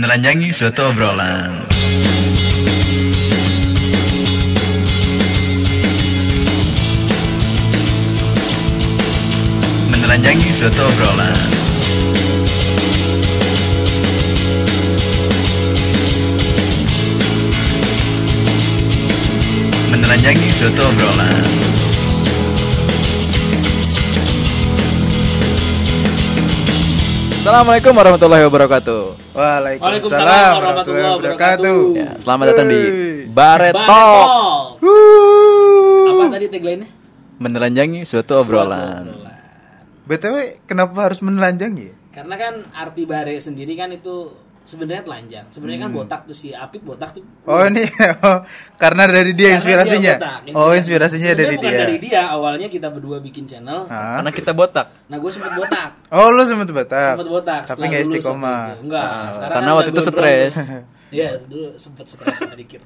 menelanjangi suatu obrolan. Menelanjangi suatu obrolan. Menelanjangi suatu obrolan. Assalamualaikum warahmatullahi wabarakatuh. Waalaikumsalam warahmatullahi wabarakatuh. Ya, selamat datang di Hey. Bareto Baretol. Apa tadi tagline-nya? menelanjangi suatu obrolan. Obrolan. BTW kenapa harus menelanjangi? Karena kan arti bare sendiri kan itu sebenarnya telanjang. Sebenarnya kan botak tuh si Apik botak tuh. Oh ini oh, karena dari dia Karena inspirasinya. dia botak, oh inspirasinya Sebenarnya dari bukan dia. Ah. dari dia. Awalnya kita berdua bikin channel. Hah? Karena kita botak. Nah, gue sempet botak. Oh lu sempat batak. Sempet botak. Tapi setelah nggak lulus istiqomah. waktu itu. Enggak. Ah, sekarang karena kan waktu udah itu gondrong. stres. Iya, dulu sempet stres sedikit.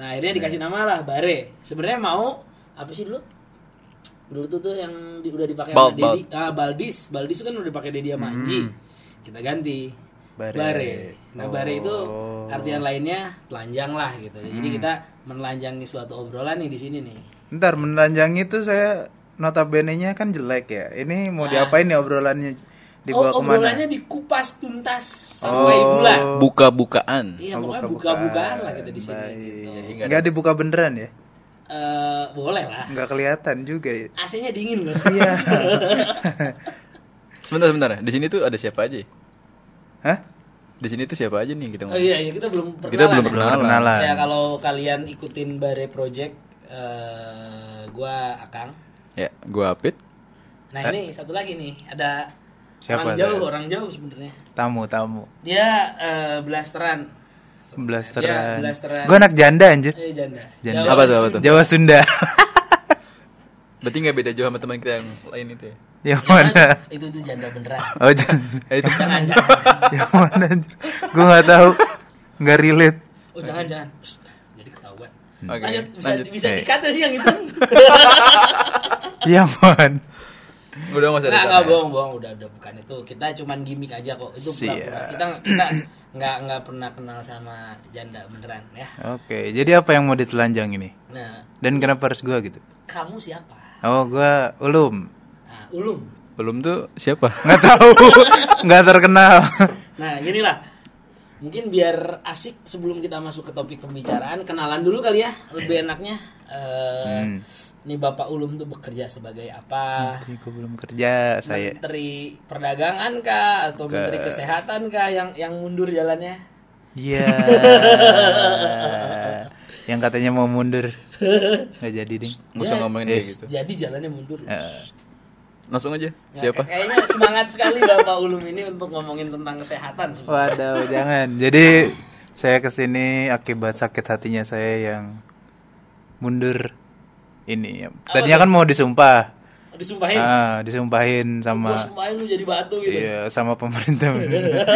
Nah, akhirnya Iya. dikasih nama lah bare. Sebenarnya mau apa sih dulu? Dulu tuh tuh yang di- udah dipakai sama Bald, Dedi, ah, Baldis. Baldis itu kan udah dipakai Dedi sama Anji. Kita ganti bare. Hmm. Bare. Nah, bare itu Oh. Hmm. artian lainnya telanjang lah gitu. Jadi kita menelanjangi suatu obrolan nih di sini nih. Ntar menelanjangi itu saya notabenenya kan jelek ya. Ini mau diapain ya obrolannya dibawa Nah. oh, kemana? obrolannya dikupas tuntas sampai bulan. Buka-bukaan. Iya, Oh, pokoknya buka-bukaan. buka-bukaan lah kita di sini Baik. gitu. Nggak dibuka beneran ya? Eh, boleh lah. Nggak kelihatan juga ya. AC-nya dingin loh. Iya. Sebentar sebentar. Di sini tuh ada siapa aja? Hah? Di sini tuh siapa aja nih kita oh ngomong? iya, iya, kita belum perkenalan. Kita belum ya. perkenalan. Ya kalau kalian ikutin Bare Project eh gua Akang. Ya, gua Apit. Nah, Eh. ini satu lagi nih, ada Siapa orang ada? jauh, orang jauh sebenarnya. Tamu-tamu. Dia eh, blasteran. Dia Gitu. Blasteran. Iya, blasteran. Gue anak janda anjir. Eh, janda. Janda. Jawa Apa tuh, apa Sunda. tuh? Jawa Sunda. Berarti nggak beda jauh sama teman kita yang lain itu ya? yang mana? Itu itu janda beneran. Oh, janda. Eh, itu. Jangan, jangan. yang mana gue nggak tahu nggak relate Oh, jangan, jangan. Shh, Jadi ketahuan. Oke, Lanjut, bisa, lanjut. bisa Eh. dikat sih yang itu. yang mana Udah nggak usah Nggak, ada nggak sama. bohong, bohong, udah, udah bukan itu. Kita cuman gimmick aja kok. Itu Siap. pura-pura. Kita kita nggak nggak pernah kenal sama janda beneran ya. oke jadi apa yang mau ditelanjang ini Nah, dan kenapa harus gue gitu kamu siapa? oh gue ulum Nah, ulum. Belum tuh siapa? nggak tahu nggak terkenal Nah, ginilah. Mungkin biar asik sebelum kita masuk ke topik pembicaraan, kenalan dulu kali ya, lebih enaknya. Eh, Hmm. Ini Bapak Ulum tuh bekerja sebagai apa? Ini gue belum kerja saya Menteri Perdagangan kah atau Menteri Kesehatan kah yang yang mundur jalannya? iya yang katanya mau mundur nggak jadi ding Nggak Iya. usah ngomongin kayak gitu. Jadi jalannya mundur. Eh, Langsung aja. Ya, Siapa? kayak- Kayaknya semangat sekali Bapak Ulum ini untuk ngomongin tentang kesehatan. sebenarnya. waduh jangan jadi saya kesini akibat sakit hatinya saya yang mundur ini tadinya kan mau disumpah Disumpahin, Ah, disumpahin gua sama sumpahin lu jadi batu gitu. iya sama pemerintah. Iya.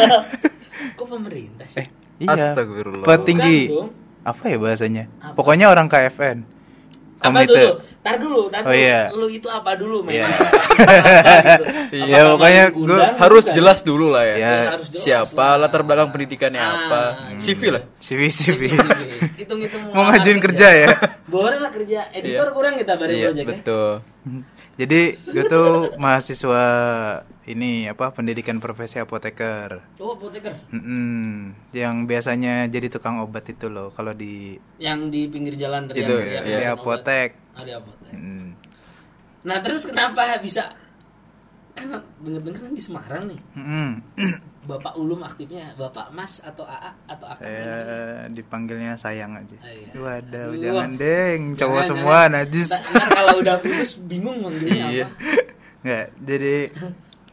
Kok pemerintah sih? eh, iya. Astagfirullah. Petinggi. Bukan dong. Apa ya bahasanya? Pokoknya orang KFN. Apa dulu? Komite. Tar dulu, tar Oh, dulu. iya. Lu itu apa dulu men? Iya. Iya, Iya, pokoknya gua Harus kan? jelas dulu lah ya. Ya. Harus jelas Siapa lah. latar belakang pendidikannya Ah, apa? iya. CV lah. CV CV. Gitu, Hitung-hitung Mau ngajuin kerja ya. Boleh lah kerja. Editor kurang kita bari Iya, project ya. betul. Jadi gue tuh mahasiswa ini apa pendidikan profesi apoteker. Oh, apoteker. Mm-mm. yang biasanya jadi tukang obat itu loh kalau di Yang di pinggir jalan Itu, teriak-teriak. iya. di minum obat. apotek. Ah, di apotek. Mm. Nah, terus kenapa bisa kan denger-denger kan di Semarang nih. Mm-mm. Bapak Ulum aktifnya Bapak Mas atau AA atau Akang namanya? Eh, dipanggilnya sayang aja. Ah, iya. Waduh, Aduh. jangan deng, cowok Jangan, semua jangan. najis. Ntar- ntar kalau udah lulus bingung manggilnya Iya. apa. Nggak, jadi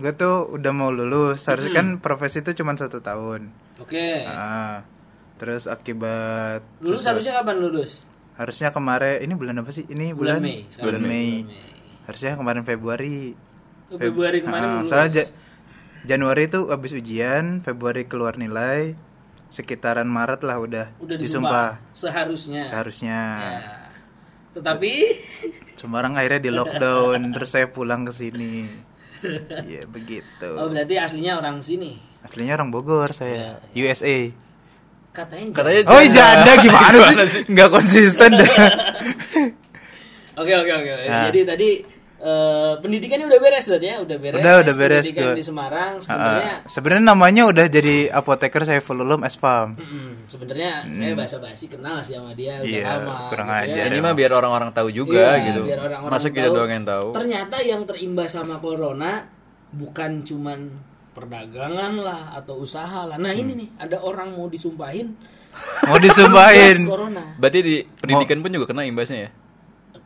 gue tuh udah mau lulus, harusnya kan profesi itu cuma satu tahun. Oke. Ah, terus akibat Lulus harusnya kapan lulus? harusnya kemarin ini bulan apa sih? Ini bulan Bulan Mei. Bulan Sekarang Mei. bulan Mei. Harusnya kemarin Februari. Oh, Februari kemarin Ah, lulus. soalnya Ja- Januari tuh habis ujian, Februari keluar nilai, sekitaran Maret lah udah, udah disumpah. disumpah. Seharusnya. Seharusnya. Ya. Tetapi Semarang akhirnya di lockdown terus saya pulang ke sini Iya begitu. Oh berarti aslinya orang sini. Aslinya orang Bogor saya, Ya. USA. Katanya. Katanya Oh iya, Jangan. janda gimana Gimana sih? Nggak konsisten dah. Oke oke oke. Nah. Jadi tadi eh, pendidikannya udah beres berarti ya, udah beres. Udah, udah beres, Pendidikan gua. di Semarang sebenarnya. Ah, Sebenarnya namanya udah jadi apoteker saya Fululum Espam. mm, sebenarnya saya bahasa basi kenal sih sama dia udah Hmm. Iya, lama. kurang gitu ajar ya. emang. ini mah biar orang-orang tahu juga Iya, gitu. biar orang-orang Masa kita tahu. doang yang tahu. Ternyata yang terimbas sama corona bukan cuman perdagangan lah atau usaha lah. Nah Hmm. ini nih ada orang mau disumpahin. Mau disumpahin. terimbas corona. Berarti di Oh. pendidikan pun juga kena imbasnya ya.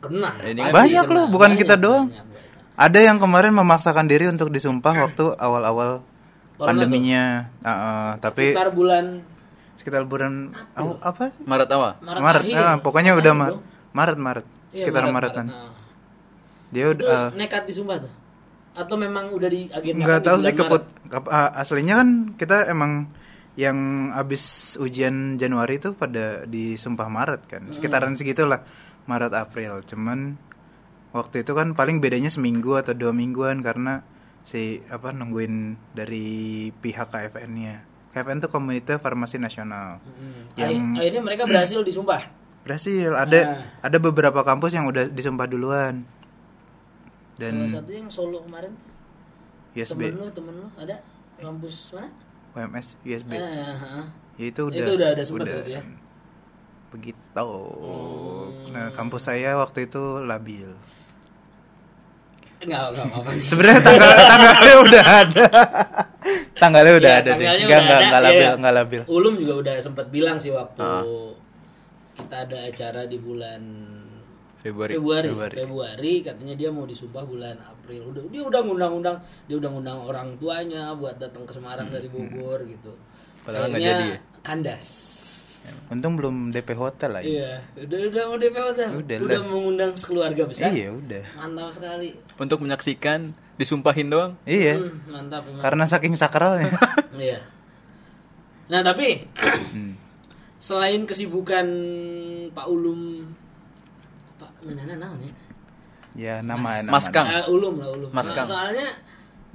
Kena. Ini pasti Banyak kena. loh, bukan Banyak, kita doang. banyak, banyak. Ada yang kemarin memaksakan diri untuk disumpah waktu awal-awal Corona pandeminya. Ah, ah, tapi Sekitar bulan sekitar buran aw- apa? Maret awal. Maret, Maret. akhir. Ah, pokoknya udah Akhir, Maret. bro. Maret Maret. Iya, Sekitar Maret, Maretan. Maret, nah. Dia Itu udah ah, nekat disumpah tuh? Atau memang udah Iya, kan di agenda nggak tahu sih keput kep- ah, aslinya kan kita emang yang abis ujian Januari itu pada di Sumpah Maret kan sekitaran segitulah Maret April cuman waktu itu kan paling bedanya seminggu atau dua mingguan karena si apa nungguin dari pihak KFN-nya KFN tuh Komunitas Farmasi Nasional yang- Akhirnya mereka berhasil disumpah. berhasil Ah. ada ada beberapa kampus yang udah disumpah duluan dan Salah satu yang Solo kemarin temen USB lu temen lu ada kampus mana? UMS USB Eh, heeh. Ya itu udah. Itu udah ada sempat berarti ya? Oh. Begitu. Nah, kampus saya waktu itu labil. Enggak, enggak apa-apa nih. Sebenarnya tanggal tanggalnya udah ada. tanggalnya udah Iya, ada deh. tanggalnya Enggak udah enggak ada, enggak iya. labil, enggak labil. Ah. Ulum juga udah sempat bilang sih waktu kita ada acara di bulan Februari. Februari. Februari. Februari. katanya dia mau disumpah bulan April. Udah dia udah ngundang-undang, dia udah ngundang orang tuanya buat datang ke Semarang Hmm, dari Bogor gitu. Padahal nggak Akhirnya jadi ya? Kandas. Untung belum DP hotel ya. lagi. Iya, udah udah mau DP hotel. Udah Udah, lah. mengundang sekeluarga besar. Iya, udah. Mantap sekali. Untuk menyaksikan disumpahin doang. Iya, Hmm, mantap emang. karena saking sakralnya. Iya. Nah tapi selain kesibukan Pak Ulum, Pak Nana namanya, ya nama nama. Mas Kang. Ah, Ulum lah Ulum. Mas Nah, Kang. soalnya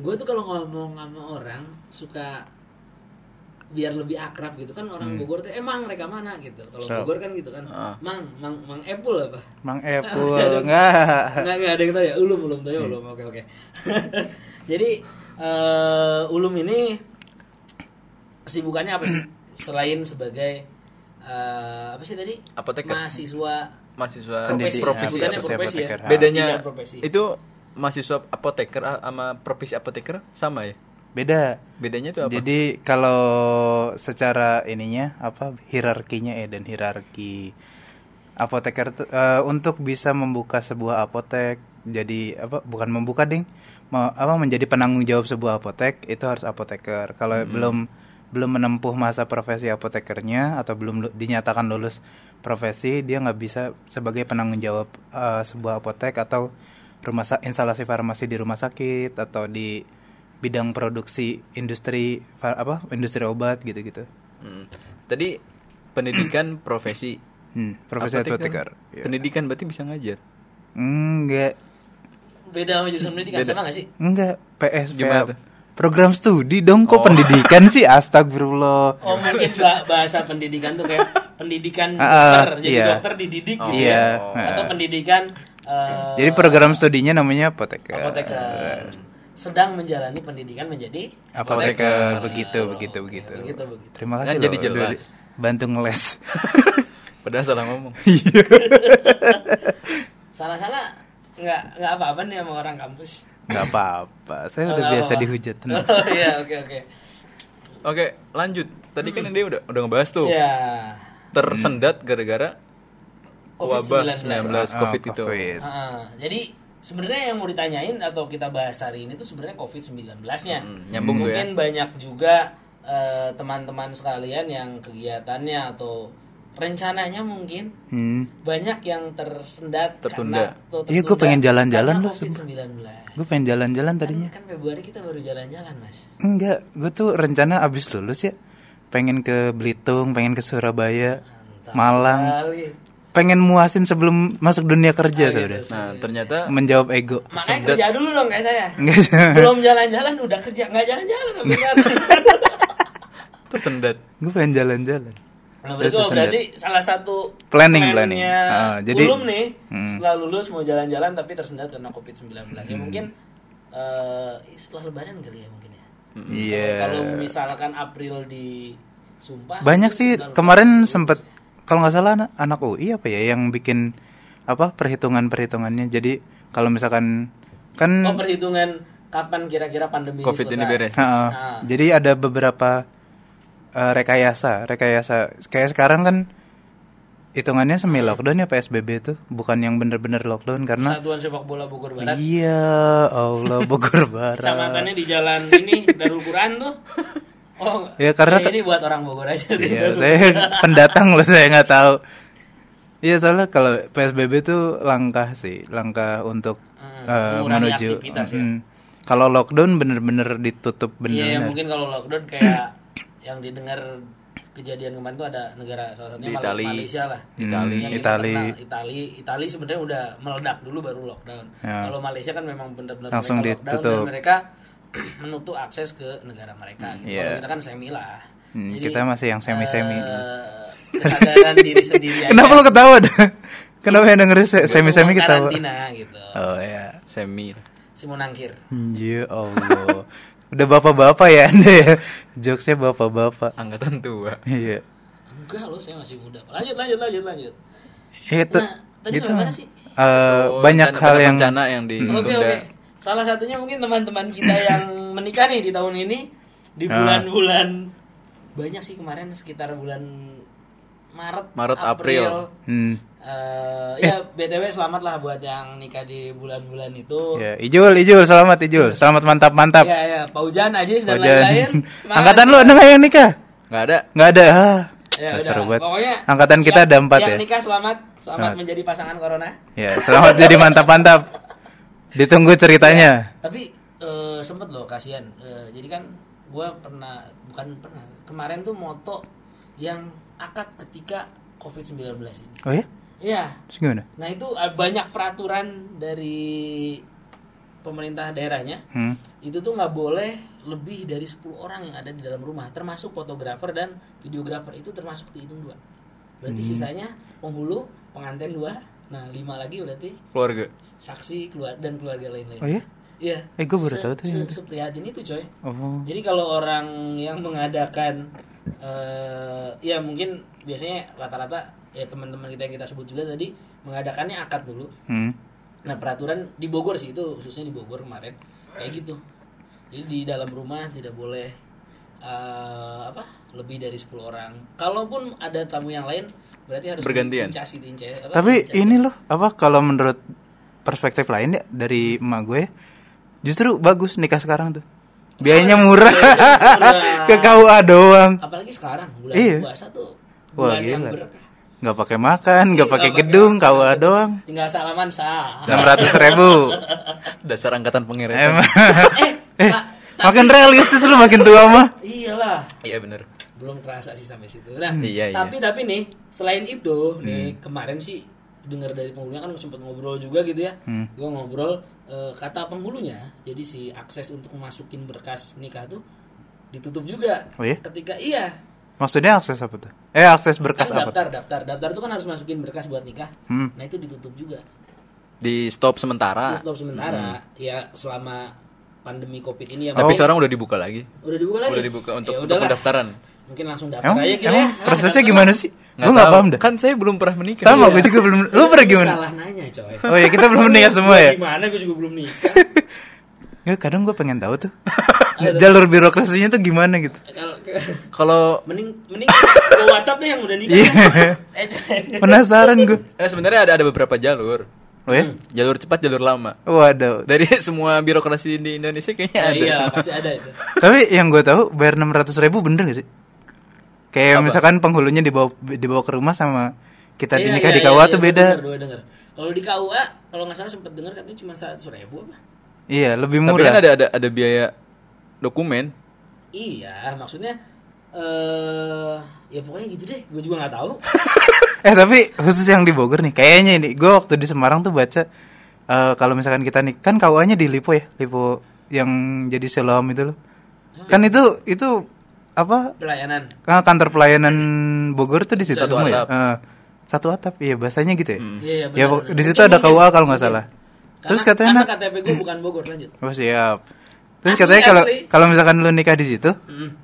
gue tuh kalau ngomong sama orang suka biar lebih akrab gitu kan orang Bogor tuh emang mereka mana gitu. Kalau So. Bogor kan gitu kan, mang mang mang Epul apa? Mang Epul enggak. Enggak enggak ada yang tahu ya. Ulum ulum tahu ya ulum. Hmm. Oke oke. Jadi eh, ulum ini kesibukannya apa sih selain sebagai eh, apa sih tadi? Apoteker. Mahasisiwa Mahasiswa Pendidik. profesi. Profesi. Kesibukannya Profesi profesi ya. apoteker. Bedanya Tiga profesi. itu mahasiswa apoteker a- sama profesi apoteker sama ya? Beda. Bedanya itu apa? Jadi kalau secara ininya apa hierarkinya ya dan hierarki apoteker tuh, eh, untuk bisa membuka sebuah apotek jadi apa bukan membuka ding me- apa menjadi penanggung jawab sebuah apotek itu harus apoteker kalau Hmm. belum belum menempuh masa profesi apotekernya atau belum lu- dinyatakan lulus profesi dia nggak bisa sebagai penanggung jawab eh, sebuah apotek atau rumah sa- instalasi farmasi di rumah sakit atau di bidang produksi industri fa- apa industri obat gitu-gitu. Hmm. Tadi pendidikan profesi. Hmm, profesi kan? apoteker. Iya. Pendidikan berarti bisa ngajar. Enggak, Beda sama jurusan pendidikan sama nggak sih? enggak PS Gimana tuh? program studi dong kok pendidikan sih astagfirullah. Oh mungkin ba- bahasa pendidikan tuh kayak pendidikan Ah, dokter, jadi iya. dokter dididik gitu Iya, ya, atau pendidikan eh, Jadi eh, program studinya namanya apoteker. apoteker sedang menjalani pendidikan menjadi Apoteker begitu begitu begitu. begitu begitu. Terima Kan kasih jadi loh, jelas. udah di- bantu ngeles. Padahal salah ngomong. Salah-salah nggak nggak apa-apa nih sama orang kampus. Enggak apa-apa. Saya Oh, udah nggak biasa apa-apa. dihujat tenang. Oh iya, oke oke. Oke, lanjut. Tadi kan dia udah udah ngebahas tuh. Ya. Tersendat gara-gara wabah COVID-19. 19 Ah, COVID itu. COVID. Ah, jadi sebenarnya yang mau ditanyain atau kita bahas hari ini tuh sebenarnya COVID-19-nya. nyambung tuh ya. Mungkin banyak juga eh, teman-teman sekalian yang kegiatannya atau rencananya mungkin Hmm. banyak yang tersendat Tertunda. karena- atau Iya, gua tertunda pengen jalan-jalan karena loh. COVID-19. Gue pengen jalan-jalan tadinya. Kan Februari kita baru jalan-jalan, Mas. Enggak, gue tuh rencana abis lulus ya pengen ke Belitung, pengen ke Surabaya, Mantap Malang, sekali. Ah, iya, pengen muasin sebelum masuk dunia kerja sudah. Nah, ternyata Menjawab ego. Makanya kerja dulu dong kayak saya. Nggak Belum jalan-jalan udah kerja, nggak jalan-jalan. sampai sekarang. tersendat. Gue pengen jalan-jalan. Nah, berarti, oh, berarti salah satu Planning, planning. plannya Ah, jadi- Ulum nih Hmm. setelah lulus mau jalan-jalan tapi tersendat karena Covid-19. Ya mungkin eh, setelah lebaran kali ya mungkin ya. Iya. Kalau misalkan April di Sumpah Banyak itu sih setelah kemarin sempet kalau nggak salah anak- anak UI apa ya yang bikin apa perhitungan-perhitungannya. Jadi kalau misalkan kan Oh, perhitungan kapan kira-kira pandemi Covid ini selesai. beres. Heeh. Ah. Jadi ada beberapa eh, rekayasa, rekayasa. Kayak sekarang kan hitungannya semi Ah. lockdown ya PSBB itu, bukan yang bener-bener lockdown karena Satuan sepak bola Bogor Barat. iya Allah Bogor Barat. Kecamatannya di jalan ini Darul Quran tuh. Oh, Ya, karena- ini buat orang Bogor aja. Iya, saya pendatang loh saya nggak tahu. Iya soalnya kalau PSBB itu langkah sih, langkah untuk Hmm, eh, mengurangi menuju. aktivitas ya. Mm. Kalau lockdown bener-bener ditutup Iya, ya, bener-bener. mungkin kalau lockdown kayak yang didengar kejadian kemarin tuh ada negara salah satunya Di Mal- Itali. Malaysia lah. Hmm, Yang kita Itali. kenal. Itali, Itali sebenarnya udah meledak dulu baru lockdown. Ya. Kalau Malaysia kan memang benar-benar Langsung mereka lockdown ditutup. dan mereka menutup akses ke negara mereka gitu. Iya. Kalau kita kan semi lah. Hmm, kita masih yang semi-semi. eh, kesadaran diri sendiri aja. Kenapa lo ketawa? dah? Kenapa yang dengerin se- semi-semi ya. Mau ketawa? karantina gitu. Oh ya. Semi. Si Munangkir. Ya Allah. Udah bapak-bapak ya Anda ya. Jokesnya bapak-bapak. Angkatan tua. Iya. Enggak loh, saya masih muda. Lanjut, lanjut, lanjut, lanjut. Itu Nah, tadi itu sampai mana sih? eh, Oh, banyak rencana- hal yang rencana yang ditunda. Hmm. Oke oke. Salah satunya mungkin teman-teman kita yang menikah nih di tahun ini di Ah. bulan-bulan banyak sih kemarin sekitar bulan Maret, Maret, April. Hmm. Eh, ya btw selamat lah buat yang nikah di bulan-bulan itu. Ya, Ijul, Ijul, selamat Iya. Ijul. Selamat mantap, mantap. Ya ya Pak Ujan, Ajis dan Hujan. lain-lain. Semangat. Angkatan lu ada nggak yang nikah? Nggak ada. Nggak ada. Ah. Ah, Ya, udah. seru banget. Pokoknya Angkatan kita yang- ada empat yang ya. nikah selamat, selamat, Selamat. menjadi pasangan corona. Ya, selamat jadi mantap, mantap. Ditunggu ceritanya. Tapi eh, sempet loh kasihan. Eh, jadi kan gua pernah bukan pernah kemarin tuh moto yang akad ketika COVID-19 ini. Oh ya? Iya. Terus gimana? Nah, itu eh, banyak peraturan dari pemerintah daerahnya. Hmm. Itu tuh nggak boleh lebih dari 10 orang yang ada di dalam rumah, termasuk fotografer dan videografer itu termasuk dihitung dua. Berarti Hmm. sisanya penghulu, pengantin dua, nah lima lagi berarti Keluarga. saksi keluar dan keluarga lain-lain. Oh ya? Iya. Eh, gua baru tahu tuh yang Se seprihatin itu coy. Hmm. Oh. Jadi kalau orang yang mengadakan, eh ya mungkin biasanya rata-rata ya teman-teman kita yang kita sebut juga tadi mengadakannya akad dulu. Hmm. Nah peraturan di Bogor sih itu khususnya di Bogor kemarin kayak gitu. Jadi di dalam rumah tidak boleh eh apa lebih dari 10 orang. Kalaupun ada tamu yang lain berarti harus Bergantian. incas gitu, incas- apa, Tapi incas. ini loh, apa kalau menurut perspektif lain ya dari emak gue, justru bagus nikah sekarang tuh. Biayanya Oh, iya. murah. Ke KUA doang. apalagi sekarang bulan Iya. puasa tuh Wah, bulan yang gila. berkah. nggak pakai makan, nggak Iya, pakai nggak pakai gedung, makan, Iya. KUA nggak doang. Tinggal salaman 600 sah. ribu. Dasar angkatan pengeresan. Emang. eh, Pak, makin realistis lu makin tua mah. iyalah. Iya bener. Belum kerasa sih sampai situ. Nah, Hmm. Iya, iya. tapi tapi nih, selain itu nih kemarin sih dengar dari penghulunya kan sempat ngobrol juga gitu ya. Hmm. Gua ngobrol eh, kata penghulunya, jadi si akses untuk masukin berkas nikah tuh ditutup juga. Oh iya? Ketika iya, Maksudnya akses apa tuh? Eh akses kan berkas apa? tuh? daftar, daftar, daftar tuh kan harus masukin berkas buat nikah. Hmm. Ah. Nah, itu ditutup juga. Di stop sementara. Di stop Hmm. sementara ya selama pandemi Covid ini ya. Tapi Oh. mungkin- sekarang udah dibuka lagi. udah dibuka lagi. Udah dibuka untuk, Ya untuk udahlah. pendaftaran. Mungkin langsung daftar Emang, aja kita. emang ya. Ah, prosesnya daftar gimana lah. sih? Gue nggak tahu. paham dah. Kan iya. saya belum pernah menikah. ya. Sama gue juga belum. Lu pernah Lu gimana? Salah nanya, coy. Oh ya kita belum nikah semua ya. Gimana gue juga belum nikah. Ya kadang gue pengen tahu tuh. Jalur birokrasinya tuh gimana gitu. Kalau ke- Kalau mending mending ke WhatsApp deh yang udah nikah. Iya. Eh, coy. Penasaran gue. eh sebenarnya ada ada beberapa jalur. Oh ya? Jalur cepat, jalur lama. Waduh. Dari semua birokrasi di Indonesia kayaknya Ya, ada. iya, semua. pasti ada itu. Tapi yang gue tahu bayar 600 ribu bener gak sih? Kayak misalkan penghulunya dibawa dibawa ke rumah sama kita di Iya, nikah iya, di KUA iya, tuh iya, beda. denger, gua denger. Kalau di KUA, kalau nggak salah sempat dengar katanya cuma seratus ribu apa? Iya lebih Tapi kan murah. ada ada ada biaya dokumen. Iya, maksudnya eh ya pokoknya gitu deh. Gue juga nggak tahu. eh tapi khusus yang di Bogor nih kayaknya ini gue waktu di Semarang tuh baca eh, kalau misalkan kita nih kan KUA-nya di Lipo ya Lipo yang jadi selom itu loh kan itu itu apa Pelayanan. Kan kantor pelayanan Bogor tuh di situ Satu semua ya? atap. Eh, satu atap, iya bahasanya gitu ya. Hmm. Iya, iya, ya benar, pok- benar. di situ Mungkin, ada mungkin. KUA kalau nggak Mungkin. salah. Karena- Terus katanya karena nak- KTP gue bukan Bogor, lanjut. oh siap. Terus Asli, katanya kalau asli. kalau misalkan lu nikah di situ, Mm.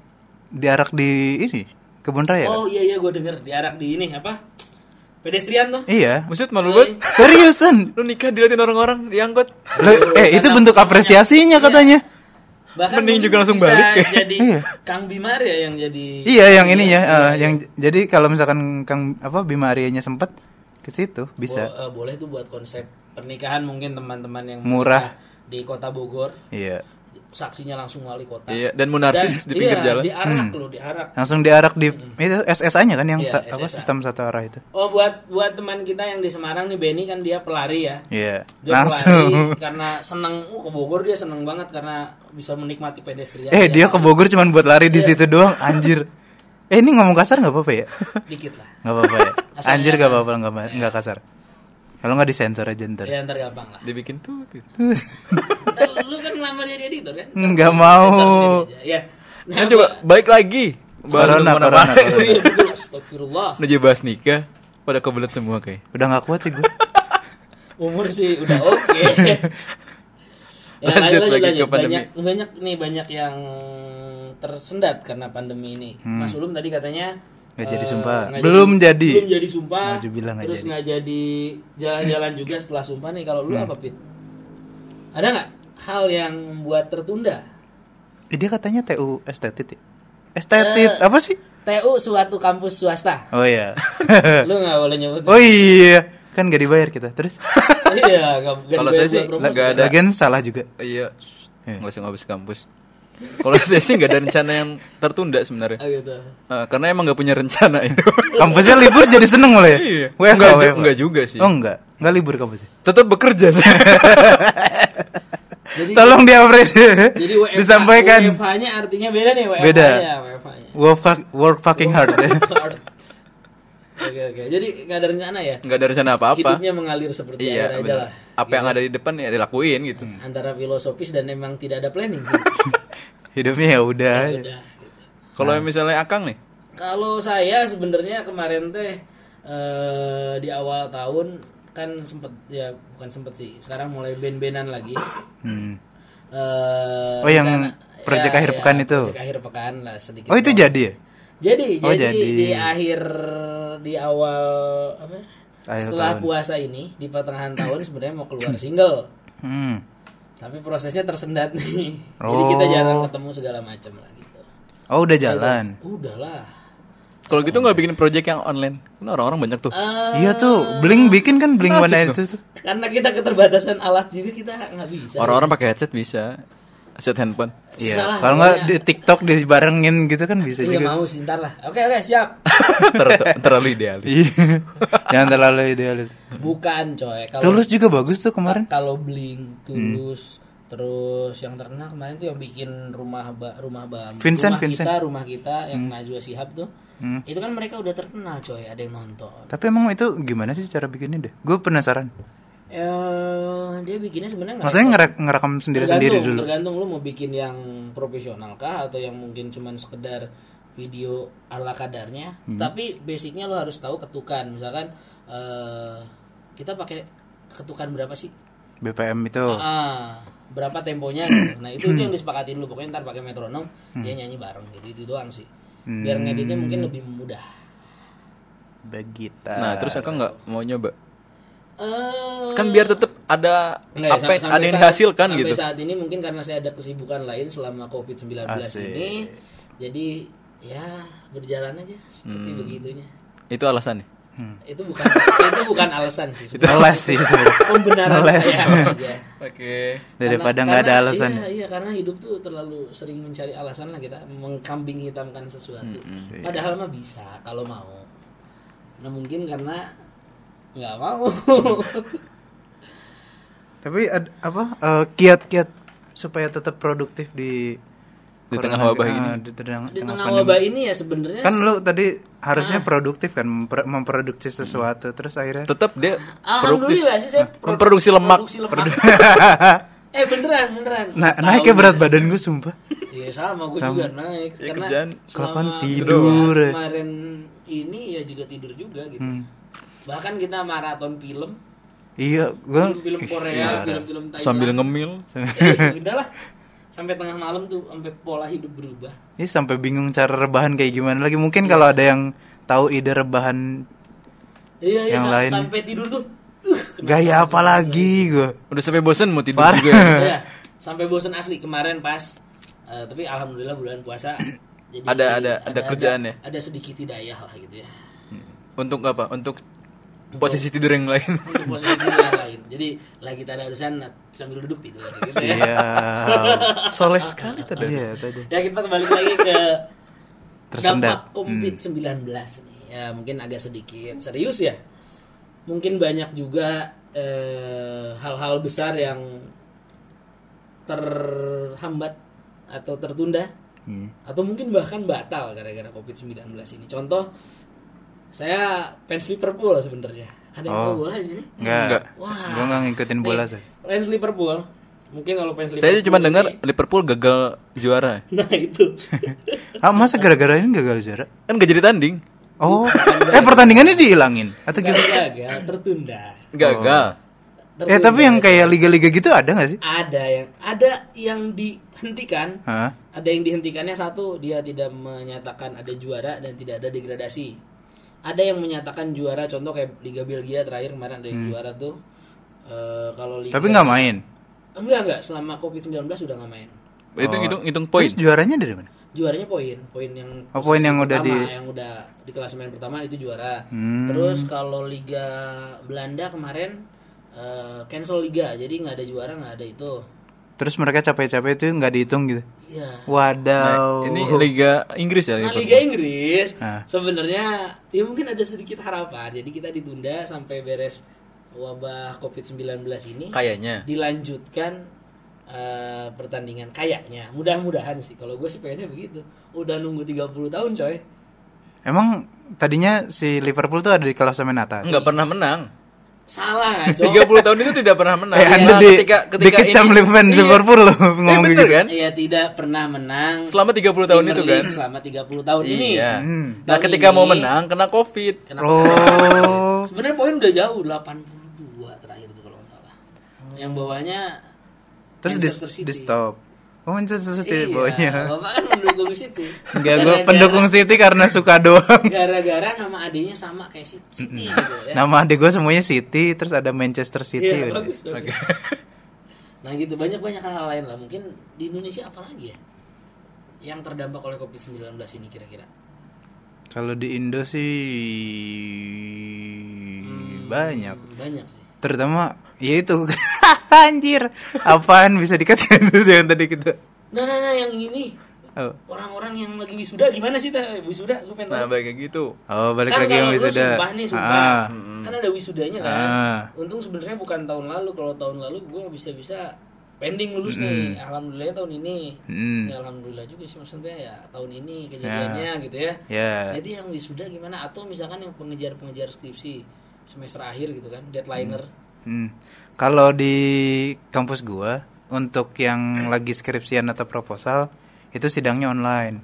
diarak di ini kebun raya. kan? Oh iya iya gue denger diarak di ini apa? Pedestrian tuh. Iya. Maksud malu banget. Seriusan? Lu nikah diliatin orang-orang diangkut. Lu- eh itu karena- bentuk Iya. apresiasinya katanya. Bahkan Mending mungkin juga langsung bisa balik ya. Jadi Iya. Kang Bimar ya yang jadi. Iya, yang ininya Iya, eh, iya. yang jadi kalau misalkan Kang apa Bima Aryanya sempet ke situ bisa. Bo- eh, boleh tuh buat konsep pernikahan mungkin teman-teman yang Murah. menikah di kota Bogor Iya. saksinya langsung wali kota. Iya, dan munarsis Dan- di pinggir iya, jalan. Diarak Hmm. loh, diarak. Langsung diarak di itu SSA-nya kan yang Hmm. Iya, sa- apa SSA. sistem satu arah itu. Oh buat buat teman kita yang di Semarang nih Benny kan dia pelari ya. Iya. Dia Langsung. pelari karena seneng oh, ke Bogor dia seneng banget karena bisa menikmati pedestrian. Eh dia Ya, ke Bogor cuman buat lari di Iya. situ doang anjir. Eh ini ngomong kasar nggak apa-apa ya? dikit lah. Nggak apa-apa ya. Asal Anjir enak. nggak apa-apa nggak ma- nggak kasar. Kalau nggak disensor aja ntar. Ya ntar gampang lah. Dibikin tuh. tuh. Ntar lu kan ngelamar jadi editor kan? Nggak Ntar mau. sensor sendiri aja. Ya. Nah, Nah, coba balik lagi. Baru Corona, kemana corona, balik. corona. Iya, betul. Astagfirullah. Menuju bahas nikah pada kebelet semua kayak. Udah nggak kuat sih gue. Umur sih udah oke. ya, Lanjut lanjut, lanjut, lagi ke lanjut. pandemi. Banyak, banyak nih banyak yang tersendat karena pandemi ini. Mas Ulum tadi katanya Hmm. Nggak eh, jadi sumpah. nggak Belum jadi. Belum jadi sumpah. Maju bilang nggak terus jadi. Hmm. nggak jadi jalan-jalan juga setelah sumpah nih. Kalau lu apa Pit? Ada nggak hal yang membuat tertunda? Eh, dia katanya TU estetit. Ya? Estetit Eh. apa sih? TU suatu kampus swasta. Oh iya. Lu nggak boleh nyebut. oh iya. Kan nggak dibayar kita. Terus iya, nggak- nggak Kalau saya dibayar sih buat promosi. nggak ada. lagian salah juga. Iya. Iya. Nggak usah ngabis kampus. Kalau saya sih nggak ada rencana yang tertunda sebenarnya. Ah, gitu. Eh, karena emang nggak punya rencana itu. Kampusnya libur jadi seneng malah ya. Iya. WFH, Nggak ju- WFH. nggak juga sih. Oh enggak. Enggak libur kampusnya. Tetap bekerja sih. Jadi Tolong diapresiasi. Jadi WFH, Disampaikan. WFH-nya artinya beda nih WFH Beda. ya, WFH-nya. Work, fuck- work fucking hard. Hard. Oke oke. Jadi nggak ada rencana ya. Nggak ada rencana apa-apa. Hidupnya mengalir seperti air Iya. aja bener. lah. Apa yang ada di depan ya dilakuin gitu. Antara filosofis dan memang tidak ada planning. Hidupnya ya udah. Udah. gitu. Kalau Nah. misalnya Akang nih, Kalau saya sebenarnya kemarin teh eh, di awal tahun kan sempet ya bukan sempet sih. Sekarang mulai ben-benan lagi. Hmm. Eh, Oh, yang rencana- proyek akhir pekan itu? Proyek akhir pekan lah sedikit. Oh itu doang. jadi ya? Jadi, Oh, jadi, jadi. di akhir di awal apa? Akhir setelah tahun. puasa ini di pertengahan tahun sebenarnya mau keluar single, Hmm. tapi prosesnya tersendat nih. Jadi kita Oh. jarang ketemu segala macam lah gitu. Oh udah jalan. Udahlah. kalau gitu nggak bikin project yang online. Karena orang-orang banyak tuh. Eh, Iya tuh, Blink bikin kan Blink Asik One Night tuh. itu tuh. karena kita keterbatasan alat juga kita nggak bisa. Orang-orang pakai headset bisa. Headset handphone. Susah lah, Iya. Kalau nggak di pokoknya. TikTok dibarengin gitu kan bisa Iya juga. mau sih ntar lah. Oke oke siap. Ter- ter- terlalu idealis. Iya. Jangan terlalu idealis. Iya. Bukan coy. Kalau Tulus juga bagus tuh kemarin. Kan kalau Hmm. bling tulus terus yang terkenal kemarin tuh yang bikin rumah ba- rumah bambu Vincent, rumah Vincent. Hmm. kita rumah kita yang Najwa Shihab tuh itu kan mereka udah terkenal coy ada yang nonton Tapi emang itu gimana sih cara bikinnya deh? Gue penasaran. Nah, eh dia bikinnya sebenarnya nggak Maksudnya ngere- ngerekam sendiri-sendiri tergantung, dulu. tergantung lu mau bikin yang profesional kah atau yang mungkin cuman sekedar video ala kadarnya Hmm. tapi basicnya lu harus tahu ketukan misalkan eh kita pakai ketukan berapa sih BPM itu. Ah, berapa temponya gitu. Nah, itu itu yang disepakati dulu. Pokoknya ntar pakai metronom, Hmm. dia nyanyi bareng gitu. Itu doang sih. Biar ngeditnya mungkin lebih mudah. Begita. Nah, terus Akang nggak mau nyoba? Eh, Kan biar tetap ada enggak ya, apa sam- yang- sampai ada yang saat- dihasilkan sampai gitu. saat ini mungkin karena saya ada kesibukan lain selama Covid-19 Asik. ini. Jadi ya berjalan aja seperti Hmm. begitunya. Itu alasannya. Itu bukan itu bukan alasan sih. sebenarnya. Ngeles sih sebenarnya. Pembenaran Ngeles. saya aja. Oke. Daripada Karena- nggak ada karena- alasan. Iya, iya, karena hidup tuh terlalu sering mencari alasan lah kita mengkambing hitamkan sesuatu. Iya. Padahal mah bisa kalau mau. Nah mungkin karena nggak mau. Tapi ad- apa eh, kiat-kiat supaya tetap produktif di Di tengah corona- wabah eh, ini. Di tengah, Di tengah tengah pandemi. wabah ini ya sebenarnya Kan lu tadi harusnya produktif kan memper- memproduksi sesuatu terus akhirnya Tetap dia Kan produktif. Alhamdulillah sih saya produ- Memproduksi lemak. Produksi lemak. eh beneran beneran. nah Tahu naiknya gitu. berat badan gue sumpah Iya sama gue juga naik Ya, karena kerjaan selama kelapan kerjaan tidur. Hmm. Kemarin ini ya juga tidur juga gitu. Bahkan kita maraton film, iya gue film-film Korea, film-film Thailand. Sambil ngemil. Eh, udah lah. Sampai tengah malam tuh sampai pola hidup berubah. ini sampai bingung cara rebahan kayak gimana lagi mungkin kalau ada yang tahu ide rebahan Iya, iya Yang sam- lain. sampai tidur tuh. Uh, gaya apa lagi gue Udah sampai bosan mau tidur Parah. juga. ya. Iya, sampai bosan asli kemarin pas eh, tapi alhamdulillah bulan puasa jadi Ada- ada- ada kerjaan ya? Ada sedikit hidayah lah gitu ya. Untuk apa? Untuk posisi tidur yang lain. Untuk posisi tidur yang lain. Jadi lagi tadarusan sambil duduk tidur gitu ya. iya Soleh sekali tadi. iya tadi Ya kita kembali lagi ke Tersendat. Hmm. dampak COVID-19 nih. Ya mungkin agak sedikit serius ya. Mungkin banyak juga eh, hal-hal besar yang terhambat atau tertunda Hmm. atau mungkin bahkan batal gara-gara COVID-19 ini. Contoh saya fans Liverpool sebenarnya. Ada yang Oh. tahu bola di sini? Enggak. Enggak, Wah. gue nggak ngikutin bola Nih, sih. Fans Liverpool. Mungkin kalau fans Saya Liverpool cuma dengar ini- Liverpool gagal juara. Nah, itu. Ah masa gara-gara ini gagal juara? Kan gak jadi tanding. Oh, eh pertandingannya dihilangin atau Gak gimana? gagal, tertunda. Gagal. Gitu. Eh Tertunda. tapi yang kayak liga-liga gitu ada nggak sih? ada yang ada yang dihentikan, Hah? ada yang dihentikannya satu dia tidak menyatakan ada juara dan tidak ada degradasi. Ada yang menyatakan juara, contoh kayak Liga Belgia terakhir kemarin ada yang juara tuh. Eh, kalau Liga Hmm. Tapi nggak main. enggak enggak selama Covid-19 sudah nggak main. Itu hitung hitung poin. Terus juaranya dari mana? Juaranya poin, poin yang Oh, poin yang udah pertama, di- yang udah di klasemen pertama itu juara. Hmm. Terus kalau Liga Belanda kemarin eh, cancel liga, jadi nggak ada juara nggak ada itu. Terus mereka capek-capek itu nggak dihitung gitu. Iya. Nah, Wadaw. Ini Liga Inggris ya. Nah, Liverpool? Liga Inggris Iya, Ah. sebenarnya ya mungkin ada sedikit harapan. Jadi kita ditunda sampai beres wabah COVID-19 ini Kayaknya. dilanjutkan eh, pertandingan kayaknya. Mudah-mudahan sih kalau gue sih pengennya begitu. Udah nunggu 30 tahun, coy. Emang tadinya si Liverpool tuh ada di klasemen atas. Nggak pernah menang. Salah, coy. 30 tahun itu tidak pernah menang. eh, Iya, anda di, dikecam ini- Liverpool Iya. Liverpool loh Eh, ngomong bener gitu. Iya, kan? Iya, tidak pernah menang Selama 30 tahun itu Premier kan. League selama 30 tahun ini. Iya. Hmm. Nah, Tahun ketika mau ini- menang kena Covid. Kenapa? Oh, Sebenarnya poin udah jauh 82 terakhir itu kalau nggak salah. Yang bawahnya terus di, Manchester City. di stop. Oh Manchester City Iya, ya. bawahnya. Bapak kan mendukung City. Enggak, gue Gara-gara- pendukung City karena suka doang. Gara-gara nama adiknya sama kayak City City gitu Nah, ya. Nama adik gue semuanya City, terus ada Manchester City. gitu. Iya, udah. bagus, bagus. Nah gitu banyak banyak hal lain lah. Mungkin di Indonesia apa lagi ya yang terdampak oleh COVID-19 ini kira-kira? Kalau di Indo sih banyak. Hmm, Banyak sih. Terutama ya itu anjir. Apaan bisa dikatain itu yang tadi kita. Nah, nah, nah yang ini Oh, orang-orang yang lagi wisuda gimana sih teh wisuda gue pengen Nah, tahu. kayak gitu. oh, balik kan lagi yang kalau dulu wisuda. sumpah nih sumpah Ah, kan ada wisudanya kan Ah. untung sebenarnya bukan tahun lalu kalau tahun lalu gue bisa bisa pending lulus nih alhamdulillah tahun ini Mm. ya alhamdulillah juga sih maksudnya ya tahun ini kejadiannya gitu ya Ya. jadi yang wisuda gimana atau misalkan yang pengejar pengejar skripsi semester akhir gitu kan deadlineer Hmm. Kalau di kampus gua untuk yang lagi skripsian atau proposal itu sidangnya online.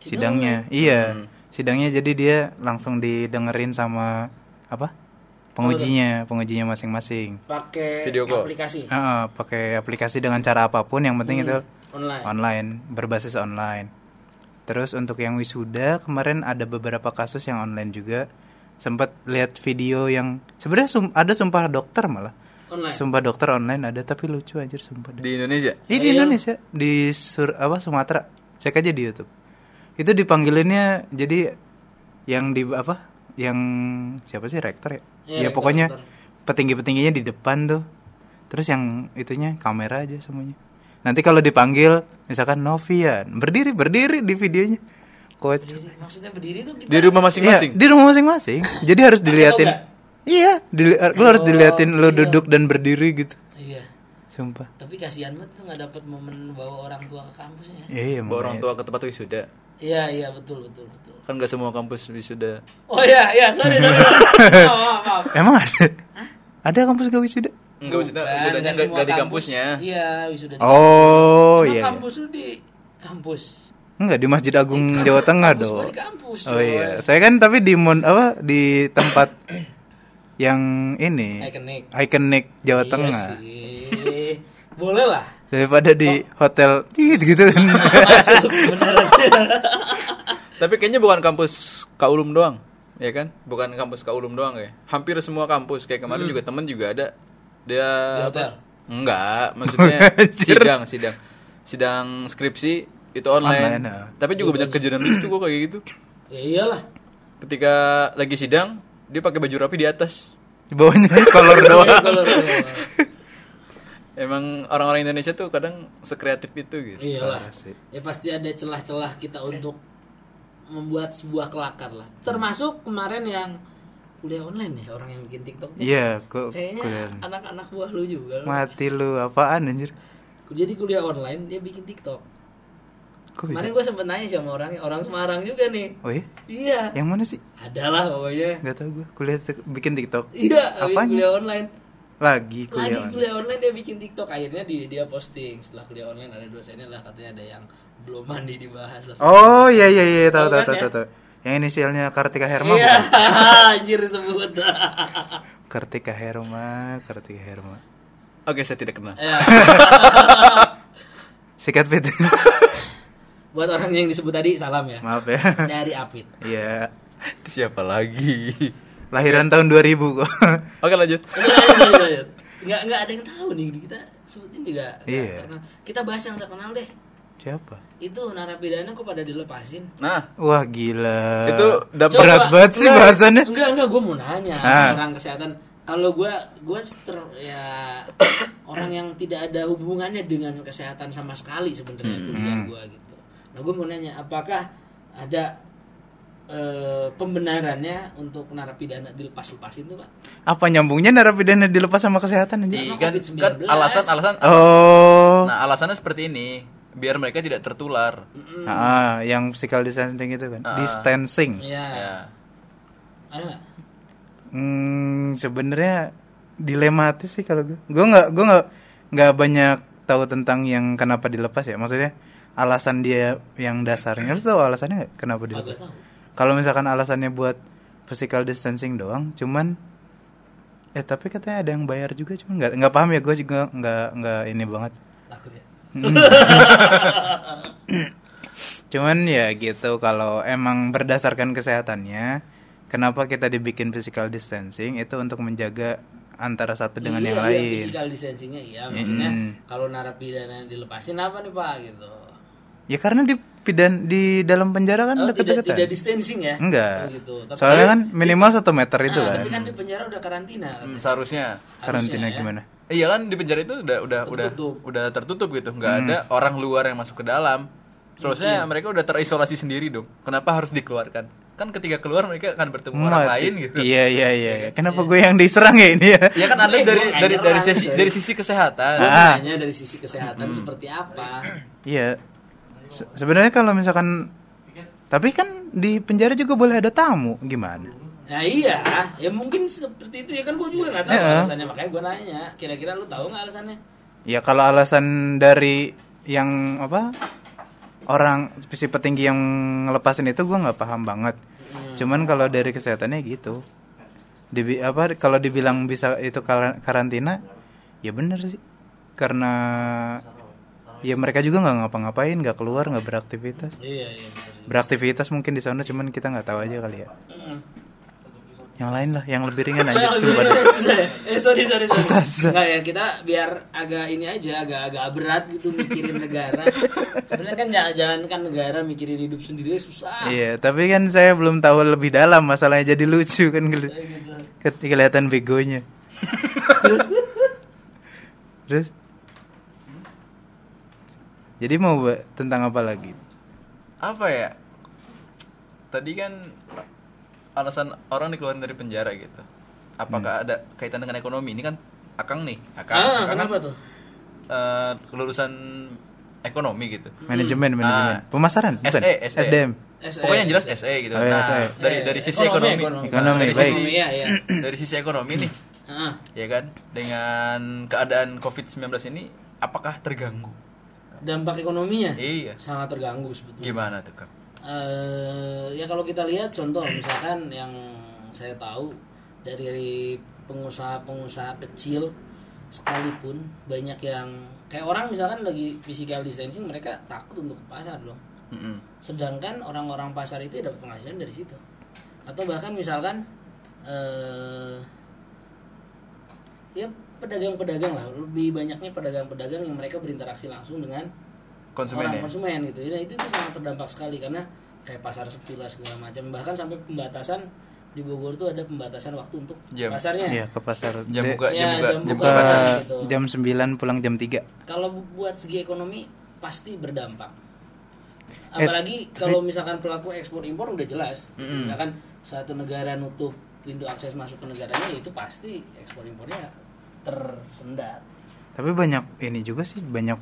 Sidangnya, iya. Sidangnya jadi dia langsung didengerin sama apa? Pengujinya, pengujinya masing-masing. pakai Video call. aplikasi Ah, pakai aplikasi dengan cara apapun yang penting itu Hmm. online online, berbasis online. Terus untuk yang wisuda kemarin ada beberapa kasus yang online juga. Sempat lihat video yang sebenarnya sum- ada sumpah dokter malah. online Sumpah dokter online ada tapi lucu anjir sumpah. Di Indonesia. Ini di Indonesia di sur apa Sumatera. Cek aja di YouTube. Itu dipanggilinnya jadi yang di apa? Yang siapa sih rektor ya? Iya, ya rektor, pokoknya rektor. petinggi-petingginya di depan tuh. Terus yang itunya kamera aja semuanya. Nanti kalau dipanggil misalkan Novian, berdiri berdiri di videonya. Coach. Berdiri. maksudnya berdiri tuh kita Di rumah Iya, masing-masing. di rumah masing-masing. Jadi harus diliatin. tau nggak? Oh, Iya, dili- lu harus diliatin lu iya. duduk dan berdiri gitu. iya sumpah Tapi kasihan banget tuh nggak dapat momen bawa orang tua ke kampusnya. ya. iya Bawa orang makanya. tua ke tempat wisuda. Iya iya betul betul betul. Kan gak semua kampus wisuda. Oh iya iya sorry sorry. sorry. maaf maaf. maaf. emang ada ada kampus gak wisuda Enggak wisuda, Bukan, wisudanya nggak nggak semua nggak di kampus. kampusnya. Iya wisuda. di- oh Emang iya iya. Kampus lu di kampus. enggak di Masjid Agung Jawa Tengah Kampus gua dong di kampus. oh coy. iya saya kan tapi di mon apa di tempat yang ini Iconic. ikonik Jawa Iya Tengah sih. Boleh lah. daripada di Oh. hotel gitu gitu kan Masuk beneran. Tapi kayaknya bukan kampus Kaulum doang, ya kan? Bukan kampus Kaulum doang ya. Hampir semua kampus kayak kemarin juga temen juga ada dia Hmm. Di hotel? Enggak, maksudnya Anjir. sidang, sidang. Sidang skripsi itu online. Online, ah. Tapi juga banyak kejadian lucu kok kayak gitu. ya iyalah. Ketika lagi sidang, dia pakai baju rapi di atas. di bawahnya kolor doang Iya, Kalau Emang orang-orang Indonesia tuh kadang sekreatif itu gitu. iyalah. Parah Ah, sih. Ya pasti ada celah-celah kita untuk membuat sebuah kelakar lah. Termasuk kemarin yang kuliah online ya orang yang bikin TikTok tuh. iya kok Kayaknya anak-anak buah lu juga. lu. mati lu apaan anjir Jadi kuliah online dia bikin TikTok. kok bisa Kemarin gue sempet nanya sih sama orangnya, orang Semarang juga nih. oh iya Iya. yang mana sih Adalah pokoknya. nggak tahu gue kuliah tik- bikin tiktok Iya, habis Apanya? kuliah online. lagi Lagi kuliah kuliah online dia bikin TikTok akhirnya dia, dia posting. Setelah kuliah online ada dosennya lah katanya ada yang belum mandi dibahas lah. oh iya iya iya tahu tahu Tahu kan tahu ya? tahu tahu. yang inisialnya Kartika Herma Iya, bukan? anjir sebut. Kartika Herma Kartika Herma Oke, saya tidak kenal. Ya, sikat fit buat orang yang disebut tadi salam ya. maaf ya Dari Apit. iya Siapa lagi? lahiran tahun 2000 kok Oke, lanjut. Iya, Nggak, nggak ada yang tahu nih kita sebutin juga nggak Iya. terkenal. kita bahas yang terkenal deh siapa itu narapidana kok pada dilepasin Nah, wah gila Itu dapat- berat Coba. banget sih Enggak, bahasannya enggak enggak gue mau nanya sama Ah. orang kesehatan kalau gue gue ter- ya orang yang tidak ada hubungannya dengan kesehatan sama sekali sebenarnya Hmm, kuliah gue gitu nah gue mau nanya apakah ada eh, pembenarannya untuk narapidana dilepas lepasin tuh pak apa nyambungnya narapidana dilepas sama kesehatan anjir Iya kan, Karena COVID-19. kan alasan alasan oh nah alasannya seperti ini biar mereka tidak tertular Ah, yang physical distancing itu kan Ah. distancing ya, ya ada nggak? Hmm, sebenarnya dilematis sih kalau gue. Gue nggak gue nggak nggak banyak tahu tentang yang kenapa dilepas ya. Maksudnya alasan dia yang dasarnya. Lu tahu alasannya nggak kenapa agak dilepas? tahu Kalau misalkan alasannya buat physical distancing doang, cuman eh tapi katanya ada yang bayar juga cuman nggak nggak paham ya gue juga nggak nggak ini banget takut ya cuman ya gitu kalau emang berdasarkan kesehatannya kenapa kita dibikin physical distancing itu untuk menjaga antara satu dengan yang Iya, iya, lain Hmm. physical distancingnya iya maksudnya Mm-mm. kalau narapidana dilepasin apa nih pak gitu Ya karena di pidan di dalam penjara kan Oh, tidak deket-deketan. tidak distancing ya Enggak. Oh, gitu Tapi- Soalnya kan minimal satu meter itu Ah, kan. Tapi kan di penjara udah karantina. Hmm, seharusnya Karantina ya. gimana? iya kan di penjara itu udah udah udah Tertutup. udah tertutup gitu nggak ada orang luar yang masuk ke dalam seharusnya mereka udah terisolasi sendiri dong kenapa harus dikeluarkan kan ketika keluar mereka akan bertemu orang Mati. lain gitu Iya iya iya. Kenapa gue yang diserang ya ini ya? ya kan anda Eh, dari gua nggak dari dari nyerang, sisi coy. dari sisi kesehatan Ah. Hanya dari sisi kesehatan Hmm. seperti apa? Iya. Se- Sebenarnya kalau misalkan tapi kan di penjara juga boleh ada tamu gimana? Nah iya, ya mungkin seperti itu ya kan gue juga nggak tahu Iya. alasannya makanya gue nanya. Kira-kira lu tahu nggak alasannya? Ya kalau alasan dari yang apa orang si petinggi yang ngelepasin itu gue nggak paham banget. Cuman kalau dari kesehatannya gitu. Dibi apa kalau dibilang bisa itu kar- karantina, ya bener sih. Karena ya mereka juga nggak ngapa-ngapain, nggak keluar, nggak beraktivitas. Iya iya. bener. Beraktivitas mungkin di sana, cuman kita nggak tahu aja kali ya. Mm. Yang lain lah, yang lebih ringan Eh, aja. gimana? Sumpah. Susah ya? Eh sorry Nah, sorry sorry. iya, Susah, susah. Nggak ya kita biar agak ini aja agak agak berat gitu mikirin negara. Sebenarnya kan jangan jangan kan negara mikirin hidup sendiri susah. Iya, tapi kan saya belum tahu lebih dalam masalahnya jadi lucu kan keli- ke- kelihatan begonya. Terus jadi mau ba- tentang apa lagi? apa ya tadi kan alasan orang dikeluarin dari penjara Hmm. gitu apakah ada kaitan dengan ekonomi ini kan akang nih akang Akang Ah, kan kenapa tuh? eh, lulusan ekonomi gitu. Manajemen, manajemen. Ah. Pemasaran, bukan? SE, SE. SDM. E. SE. Pokoknya yang jelas SE gitu. Oh, iya, nah, SE. dari Eh, dari sisi E. ekonomi, ekonomi, ekonomi. Ekonomi, dari baik. sisi Iya, iya. dari sisi ekonomi nih, Ah, ya kan? Dengan keadaan COVID-19 ini apakah terganggu? dampak ekonominya Iya. sangat terganggu sebetulnya. Gimana tuh, Kang? Eh, ya kalau kita lihat contoh misalkan yang saya tahu dari pengusaha-pengusaha kecil sekalipun banyak yang kayak orang misalkan lagi physical distancing mereka takut untuk ke pasar loh. Mm-mm. Sedangkan orang-orang pasar itu ya dapat penghasilan dari situ. Atau bahkan misalkan eh, ya pedagang-pedagang lah lebih banyaknya pedagang-pedagang yang mereka berinteraksi langsung dengan Konsumen ya? orang konsumen gitu ya itu itu sangat terdampak sekali karena kayak pasar sepi lah segala macam bahkan sampai pembatasan di Bogor tuh ada pembatasan waktu untuk Jam. pasarnya Iya, ke pasar. Jam De- buka, jam Iya, buka, jam jam buka. buka buka pasar. gitu. jam 9 pulang jam 3. kalau bu- buat segi ekonomi pasti berdampak apalagi kalau misalkan pelaku ekspor impor udah jelas misalkan satu negara nutup pintu akses masuk ke negaranya ya itu pasti ekspor impornya tersendat Tapi banyak ini juga sih banyak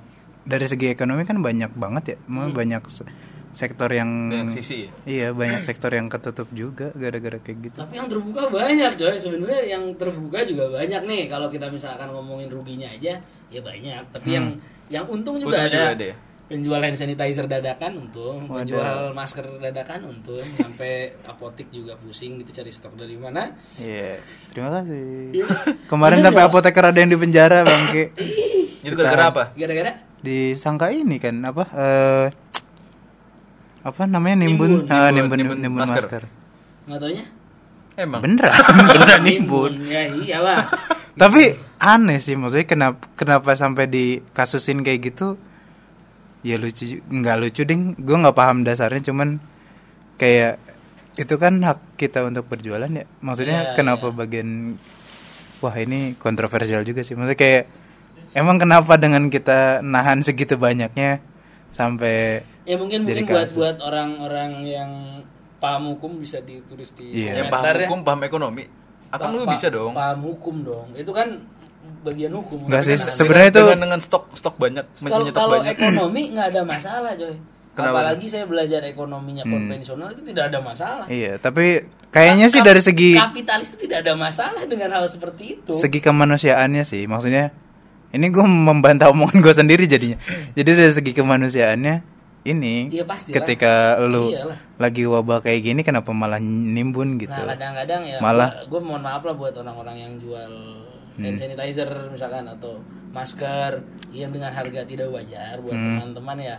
dari segi ekonomi kan banyak banget ya. Mau banyak se- sektor yang Dengan sisi. ya? Iya, banyak sektor yang ketutup juga gara-gara kayak gitu. Tapi yang terbuka banyak coy Sebenarnya yang terbuka juga banyak nih Kalau kita misalkan ngomongin ruginya aja Ya banyak Tapi yang yang untung juga Untungnya ada, juga ada ya? Penjual hand sanitizer dadakan untung Penjual masker dadakan untung Sampai apotik juga pusing gitu cari stok dari mana Iya. Terima kasih. Iya. Kemarin Bener sampai nggak? apoteker ada yang di penjara, Bangke. Itu gara-gara apa? Gara-gara Disangka ini kan apa? eh apa namanya nimbun Nimbun, Ah, nimbun, nimbun, nimbun nimbun masker. masker. nggak taunya Emang. Beneran, beneran nimbun. Ya iyalah Tapi aneh sih maksudnya kenapa kenapa sampai dikasusin kayak gitu? Ya lucu ju- nggak lucu ding. Gue nggak paham dasarnya cuman kayak itu kan hak kita untuk berjualan ya. Maksudnya Iya, kenapa bagian wah ini kontroversial juga sih. Maksudnya kayak emang kenapa dengan kita nahan segitu banyaknya sampai Ya mungkin Jadi mungkin buat kasus. buat orang-orang yang paham hukum bisa ditulis di Iya. Yang komentar paham ya. hukum, paham ekonomi. Akang Pa- kan lu pa- bisa dong. Paham hukum dong. Itu kan bagian hukum. Nggak sih, Tapi kan- sebenarnya Dengan- itu- dengan, dengan stok stok banyak, kalau menyetok kalau banyak. ekonomi nggak ada masalah, coy. Kenapa? Apalagi saya belajar ekonominya konvensional itu tidak ada masalah. iya, tapi Hmm. kayaknya sih Kap- dari segi kapitalis itu tidak ada masalah dengan hal seperti itu. segi kemanusiaannya sih maksudnya ini gue membantah omongan gue sendiri jadinya jadi dari segi kemanusiaannya ini Iya, pastilah. ketika lu Iyalah. lagi wabah kayak gini kenapa malah nimbun gitu Nah kadang-kadang ya Malah- Hmm. gue mohon maaf lah buat orang-orang yang jual hand sanitizer misalkan atau masker yang dengan harga tidak wajar Hmm. buat teman-teman ya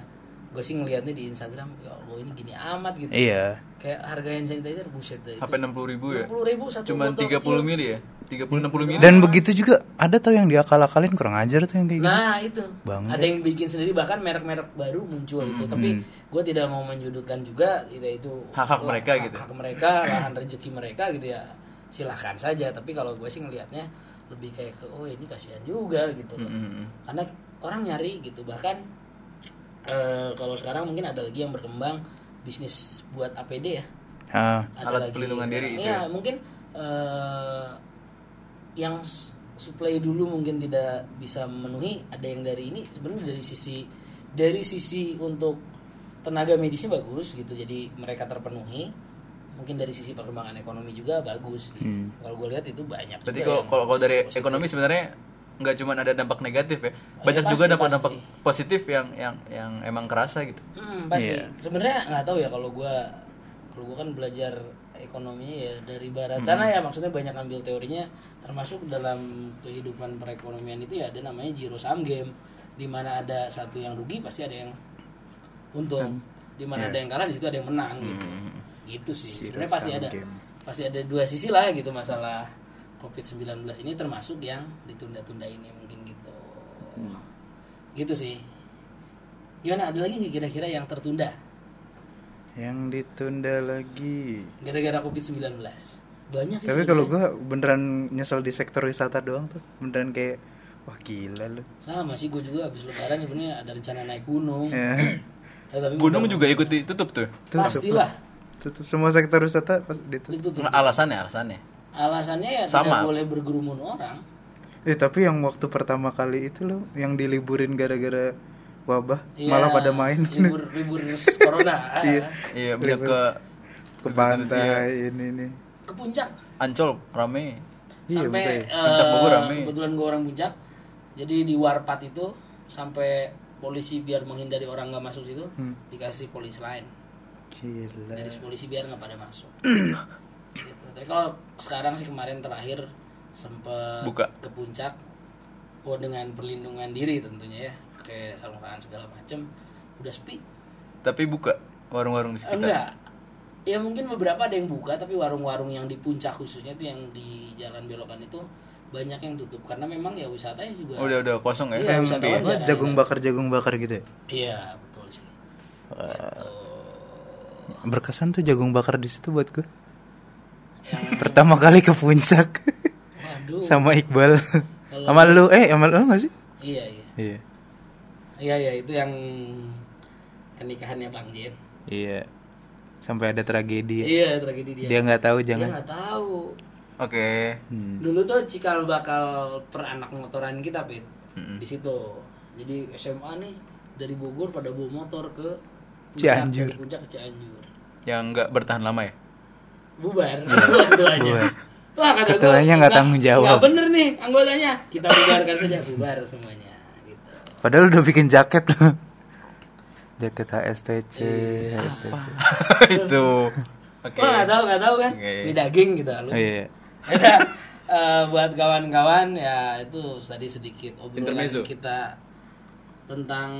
gue sih ngelihatnya di Instagram ya Allah ini gini amat gitu iya kayak harga hand sanitizer buset deh itu Sampai 60 ribu ya? 60.000 satu Cuman botol 30 kecil. mili ya? 30 60 mili. dan begitu juga ada tau yang diakal-akalin kurang ajar tuh yang kayak gitu Nah itu Bang. ada yang bikin sendiri bahkan merek-merek baru muncul itu Hmm. tapi gue tidak mau menyudutkan juga itu itu Hak-hak mereka gitu. hak mereka lahan rezeki mereka gitu ya silahkan saja tapi kalau gue sih ngelihatnya lebih kayak ke oh ini kasihan juga gitu loh Mm-mm. karena orang nyari gitu bahkan eh, kalau sekarang mungkin ada lagi yang berkembang bisnis buat APD ya Ah, ada Alat pelindungan diri itu ya, mungkin eh, yang s- supply dulu mungkin tidak bisa memenuhi ada yang dari ini sebenarnya dari sisi dari sisi untuk tenaga medisnya bagus gitu jadi mereka terpenuhi mungkin dari sisi perkembangan ekonomi juga bagus gitu. kalau gue lihat itu banyak Hmm. Berarti juga kalau yang kalau kalau dari positif. ekonomi sebenarnya nggak cuma ada dampak negatif ya. Banyak Iya, pasti, juga dampak-dampak positif yang yang yang emang kerasa gitu. Hmm, pasti. Sebenarnya nggak tahu ya kalau gua kalau gua kan belajar ekonominya ya dari barat sana ya maksudnya banyak ambil teorinya termasuk dalam kehidupan perekonomian itu ya ada namanya zero sum game di mana ada satu yang rugi pasti ada yang untung di mana ada yang kalah di situ ada yang menang gitu gitu sih sebenarnya pasti ada pasti ada dua sisi lah gitu masalah covid 19 ini termasuk yang ditunda-tunda ini mungkin gitu gitu sih Gimana ada lagi nggak kira-kira yang tertunda yang ditunda lagi gara-gara Covid-19? Banyak sih. tapi sebenarnya. kalau gue beneran nyesel di sektor wisata doang tuh beneran kayak wah gila lu sama sih gue juga abis lebaran sebenarnya ada rencana naik gunung. Ya, Eh, tapi Gunung juga ikut ditutup tuh. tutup. pastilah tutup semua sektor wisata pas ditutup ditutup. Nah, Alasannya alasannya. Alasannya ya Sama. tidak boleh bergerumun orang. Eh tapi yang waktu pertama kali itu loh yang diliburin gara-gara wabah Iya, malah pada main libur libur corona Iya. Iya, udah Libur. ke ke iya. pantai ini nih. ke puncak Ancol rame. Iya, sampai makanya. eh, Puncak Bogor rame. kebetulan gue orang puncak jadi di warpat itu sampai polisi biar menghindari orang nggak masuk situ Hmm. dikasih polisi lain Gila. dari polisi biar nggak pada masuk gitu. tapi kalau sekarang sih kemarin terakhir sempet Buka. ke puncak oh dengan perlindungan diri tentunya ya pakai sarung tangan segala macem udah sepi Eh, Tapi buka warung-warung di sekitar. enggak ya mungkin beberapa ada yang buka tapi warung-warung yang di puncak khususnya itu yang di jalan belokan itu banyak yang tutup karena memang ya wisatanya juga Udah udah kosong ya. Iya, Yang wisata sepi ya. wajar. apa, jagung bakar jagung bakar gitu ya. iya betul sih Ah. Gitu. Berkesan tuh jagung bakar di situ buat gue. Pertama kali ke puncak waduh sama Iqbal. Kalau- Sama lu, eh sama lu gak sih? iya iya Iya. iya iya itu yang kenikahannya bang Jen Iya. Sampai ada tragedi. ya. iya tragedi dia Dia nggak tahu dia jangan. nggak tahu Oke. Hmm. dulu tuh cikal bakal per anak motoran kita pit Hmm. Mm-mm. di situ jadi SMA nih dari Bogor pada bawa motor ke puncak, Cianjur. dari puncak ke Cianjur Yang enggak bertahan lama ya. bubar bubar keduanya Iya. bubar. Wah, kata gua, Ketuanya nggak tanggung jawab. nggak bener nih anggotanya kita bubarkan saja bubar semuanya gitu Padahal udah bikin jaket loh. Jaket HSTC, Iya. HSTC. Itu. Oke. Wah, nggak tahu nggak tahu kan Oke. beda geng kita lu Oh, iya. Yaudah, eh, buat kawan-kawan ya itu tadi sedikit obrolan Intermezzo. kita tentang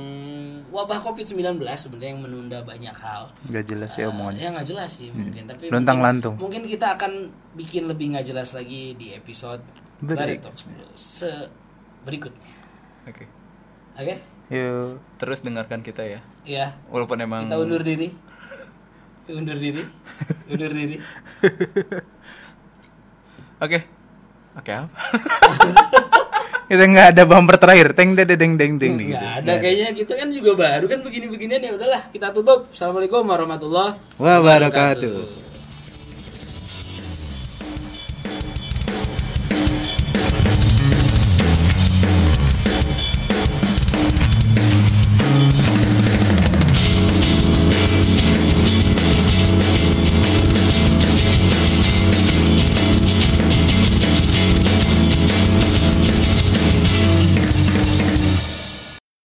wabah COVID-19 sebenarnya yang menunda banyak hal. Gak jelas ya Eh, omongannya. ya nggak jelas sih mungkin, tapi Lontang mungkin- lantung. Mungkin kita akan bikin lebih nggak jelas lagi di episode Betul. Bari Talks Blue se berikutnya. Oke. Oke? Yuk. Terus dengarkan kita ya. Ya, Walaupun emang kita undur diri. Undur diri. Hmm. Undur diri. Oke. Oke apa? Kita nggak ada bumper terakhir. Teng deng deng deng deng gitu. Nggak ada kayaknya kita kan juga baru kan begini-beginian ya udahlah kita tutup. Assalamualaikum warahmatullahi Wabarakatuh.